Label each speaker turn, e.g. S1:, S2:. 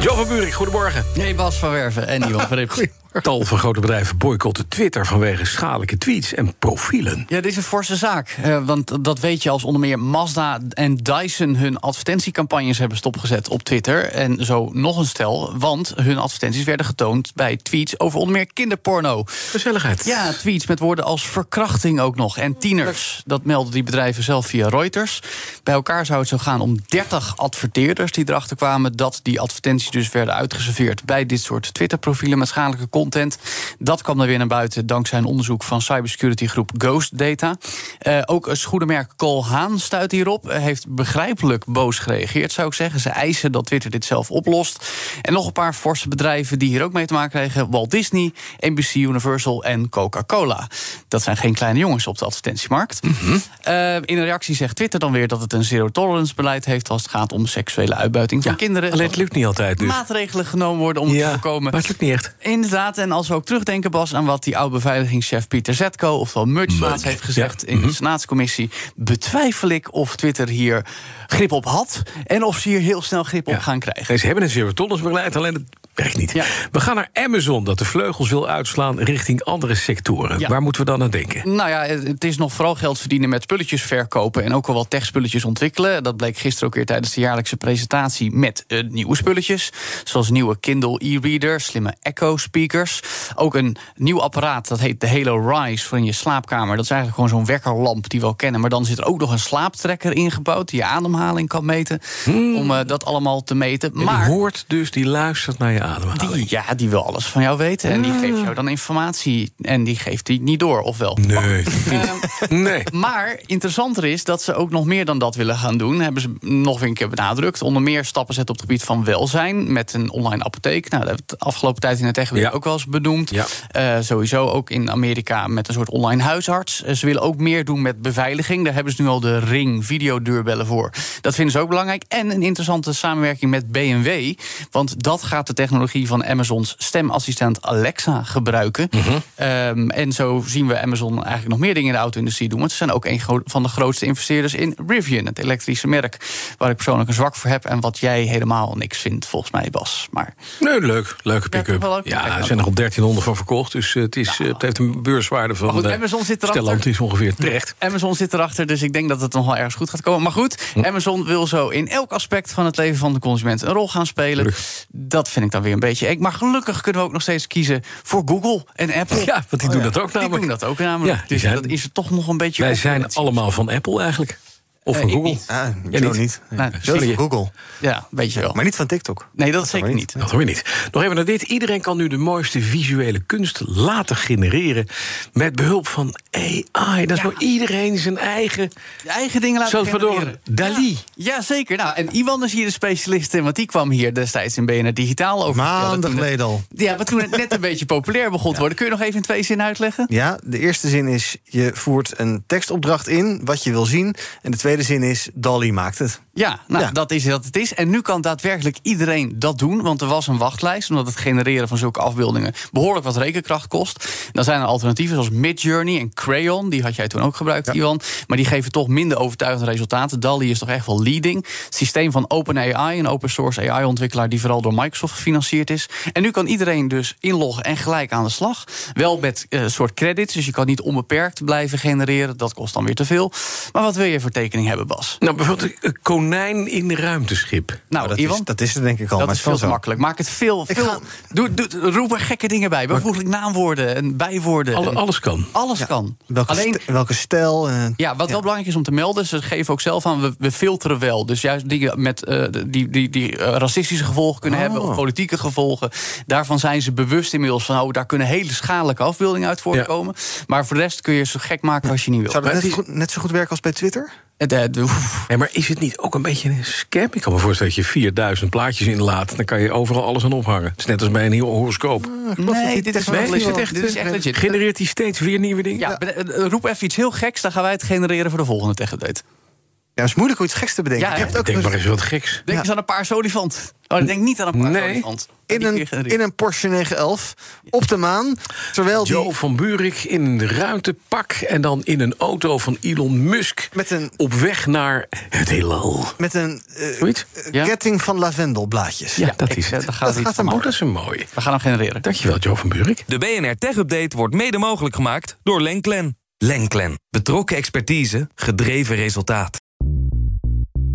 S1: Jo van Buurik, goedemorgen.
S2: Nee, Bas van Werven en Johan van Rips.
S1: Tal van grote bedrijven boycotten Twitter vanwege schadelijke tweets en profielen.
S2: Ja, dit is een forse zaak. eh, want dat weet je als onder meer Mazda en Dyson hun advertentiecampagnes hebben stopgezet op Twitter. En zo nog een stel, want hun advertenties werden getoond bij tweets over onder meer kinderporno.
S1: Gezelligheid.
S2: Ja, tweets met woorden als verkrachting ook nog. En tieners, dat melden die bedrijven zelf via Reuters. Bij elkaar zou het zo gaan om 30 adverteerders die erachter kwamen dat die advertenties dus werden uitgeserveerd bij dit soort Twitter-profielen met schadelijke content. Dat kwam dan weer naar buiten dankzij een onderzoek van cybersecuritygroep Ghost Data. Eh, ook het schoenenmerk Col Haan stuit hierop. Eh, heeft begrijpelijk boos gereageerd, zou ik zeggen. Ze eisen dat Twitter dit zelf oplost. En nog een paar forse bedrijven die hier ook mee te maken kregen: Walt Disney, NBC Universal en Coca-Cola. Dat zijn geen kleine jongens op de advertentiemarkt.
S1: Mhm.
S2: Eh, in een reactie zegt Twitter dan weer dat het een zero-tolerance beleid heeft als het gaat om seksuele uitbuiting van kinderen.
S1: Alleen het
S2: Dat
S1: lukt niet altijd dus.
S2: Maatregelen genomen worden om te voorkomen.
S1: maar het lukt niet echt.
S2: Inderdaad, en als we ook terugdenken, Bas, aan wat die oud-beveiligingschef Pieter Zetko, ofwel Murchmaat, heeft gezegd in de Senaatscommissie, betwijfel ik of Twitter hier grip op had en of ze hier heel snel grip op
S1: Ja.
S2: gaan krijgen.
S1: Nee, Ze hebben een zero-tolerance beleid, alleen het werkt niet.
S2: Ja.
S1: We gaan naar Amazon, dat de vleugels wil uitslaan richting andere sectoren.
S2: Ja.
S1: Waar moeten we dan aan denken?
S2: Nou ja, het het is nog vooral geld verdienen met spulletjes verkopen en ook al wat techspulletjes ontwikkelen. Dat bleek gisteren ook weer tijdens de jaarlijkse presentatie met eh, nieuwe spulletjes. Zoals nieuwe Kindle e-reader, slimme Echo speakers. Ook een nieuw apparaat, dat heet de Halo Rise, voor in je slaapkamer. Dat is eigenlijk gewoon zo'n wekkerlamp die we al kennen. Maar dan zit er ook nog een slaaptrekker ingebouwd die je ademhaling kan meten. Om eh, dat allemaal te meten.
S1: Maar...
S2: maar
S1: Hmm. Die hoort dus, die luistert naar je ademhaling.
S2: die, ja, die wil alles van jou weten. En die
S1: Ah.
S2: geeft jou dan informatie. En die geeft die niet door, of wel?
S1: Nee.
S2: Ehm.
S1: nee.
S2: Maar interessanter is dat ze ook nog meer dan dat willen gaan doen. Hebben ze nog weer een keer benadrukt. Onder meer stappen zetten op het gebied van welzijn. Met een online apotheek. Nou, dat hebben we de afgelopen tijd in het tech
S1: Ja.
S2: ook wel eens benoemd.
S1: Ja.
S2: Eh, sowieso ook in Amerika met een soort online huisarts. Eh, ze willen ook meer doen met beveiliging. Daar hebben ze nu al de Ring videodeurbellen voor. Dat vinden ze ook belangrijk. En een interessante samenwerking met BMW. Want dat gaat de technologie van Amazons stemassistent Alexa gebruiken. Ehm, en zo zien we Amazon eigenlijk nog meer dingen in de auto-industrie doen. Want ze zijn ook een gro- van de grootste investeerders in Rivian, het elektrische merk. Waar ik persoonlijk een zwak voor heb. En wat jij helemaal niks vindt, volgens mij, Bas. Maar
S1: Nee, leuk. Leuke
S2: toch
S1: pick-up.
S2: wel
S1: Ja,
S2: leuk. Ja,
S1: er zijn er al 1300 van verkocht. Dus eh, het, is, eh, het heeft een beurswaarde van.
S2: Maar goed,
S1: eh,
S2: Amazon zit erachter.
S1: Stellantis ongeveer terecht.
S2: Amazon zit erachter, dus ik denk dat het nog wel ergens goed gaat komen. Maar goed, Amazon wil zo in elk aspect van het leven van de consument een rol gaan spelen. Dat vind ik dan weer een beetje eng. Maar gelukkig kunnen we ook nog steeds kiezen voor Google en Apple. Oh
S1: Ja, want die doen dat ook namelijk.
S2: Die doen dat ook namelijk.
S1: Ja, die
S2: dus
S1: zijn-
S2: dat is er toch nog een beetje...
S1: Wij zijn
S2: concurrentie.
S1: allemaal van Apple eigenlijk. Of
S2: Eh,
S1: van
S2: ik
S1: Google.
S2: niet.
S3: Ah,
S1: Jij
S3: Joe
S1: niet.
S3: niet.
S2: Nou,
S3: Joe
S1: Sorry.
S3: van Google.
S2: Ja, weet je wel.
S3: Maar niet van TikTok.
S2: Nee, dat zeker
S3: maar
S2: niet.
S3: niet.
S1: Dat hoor je niet. Nog even naar dit. Iedereen kan nu de mooiste visuele kunst laten genereren. met behulp van AI. Dat is
S2: Ja.
S1: maar iedereen zijn eigen.
S2: Je eigen dingen laten
S1: Salvador
S2: genereren.
S1: Dali.
S2: Ja, zeker. Nou, en Iwan is hier de specialist in, want die kwam hier destijds in BNR Digitaal over. vertellen.
S3: Maanden
S2: Toen het-
S3: geleden al.
S2: Ja, maar toen het net een beetje populair begon te worden. Kun je nog even in twee zinnen uitleggen?
S3: Ja, de eerste zin is: je voert een tekstopdracht in, wat je wil zien. En de tweede zin is: Dolly maakt het.
S2: Ja, nou,
S3: Ja.
S2: dat is wat het is. En nu kan daadwerkelijk iedereen dat doen. Want er was een wachtlijst, omdat het genereren van zulke afbeeldingen behoorlijk wat rekenkracht kost. Dan zijn er alternatieven zoals Midjourney en Crayon. Die had jij toen ook gebruikt, Iwan. Maar die geven toch minder overtuigende resultaten. DALL-E is toch echt wel leading. Het systeem van OpenAI, een open source AI-ontwikkelaar die vooral door Microsoft gefinancierd is. En nu kan iedereen dus inloggen en gelijk aan de slag. Wel met eh, een soort credits, dus je kan niet onbeperkt blijven genereren. Dat kost dan weer te veel. Maar wat wil je voor tekening hebben, Bas?
S1: Nou, bijvoorbeeld een konijn in een ruimteschip.
S2: Nou,
S3: dat,
S2: Iwan?
S3: is, dat is er denk ik al.
S2: Dat
S3: Oh,
S2: is
S3: maar het
S2: veel te
S3: kan zo.
S2: makkelijk. Maak het veel. veel
S3: ga-
S2: doe, doe, roep er gekke dingen bij. Bijvoorbeeld naamwoorden en bijwoorden.
S1: Alle-
S2: en
S1: alles kan.
S2: alles
S3: Ja.
S2: kan.
S3: Welke,
S2: Alleen.
S3: st- welke stijl? eh,
S2: Ja, wat wel belangrijk is om te melden, ze geven ook zelf aan, we, we filteren wel. Dus juist dingen met, eh, die, die, die eh, racistische gevolgen kunnen hebben, of politieke gevolgen. Daarvan zijn ze bewust inmiddels van, oh, daar kunnen hele schadelijke afbeeldingen uit voortkomen. Maar voor de rest kun je ze gek maken als je niet wil. Eh,
S3: zou dat
S1: Maar
S3: net,
S1: het
S3: zo goed, net zo goed werken als bij Twitter?
S2: Het, eh, de- oef.
S1: Nee, maar is het niet ook een beetje een scam? Ik kan me voorstellen dat je 4000 plaatjes inlaat. Dan kan je overal alles aan ophangen. Het is net als bij een heel horoscoop.
S2: Ah, Nee, dit is,
S3: Nee,
S2: wel
S1: Nee, is
S2: legit.
S1: het echt,
S2: dit is echt legit.
S1: Genereert hij steeds weer nieuwe dingen?
S2: Ja, ben- eh, roep even iets heel geks, dan gaan wij het genereren voor de volgende tech-update.
S3: Ja, het is moeilijk om iets geks te bedenken.
S2: Ja,
S3: ik
S2: hè?
S3: heb het ook
S1: Denk
S3: nog
S1: maar eens wat geks.
S2: Denk
S3: Ja.
S2: eens aan een paarse olifant. Oh, ik denk niet aan een paarse
S1: Nee.
S2: olifant.
S3: in
S2: Die
S3: een,
S2: keer genereren.
S3: in een Porsche 911 op de maan. Terwijl
S1: Joe
S3: die
S1: van Buurik in een ruimtepak en dan in een auto van Elon Musk.
S3: met een,
S1: Op weg naar het heelal.
S3: met een eh,
S1: Zoiets?
S2: Ja.
S3: ketting van lavendelblaadjes.
S1: Ja, dat
S2: ik-
S1: is het.
S2: daar gaan we
S3: Dat
S2: iets van
S3: gaat hem
S1: Oh,
S2: maken.
S1: dat is een mooie.
S2: We gaan hem genereren.
S1: Dankjewel, Joe van Buurik.
S4: De BNR Tech Update wordt mede mogelijk gemaakt door Lenklen. Lenklen. Betrokken expertise, gedreven resultaat.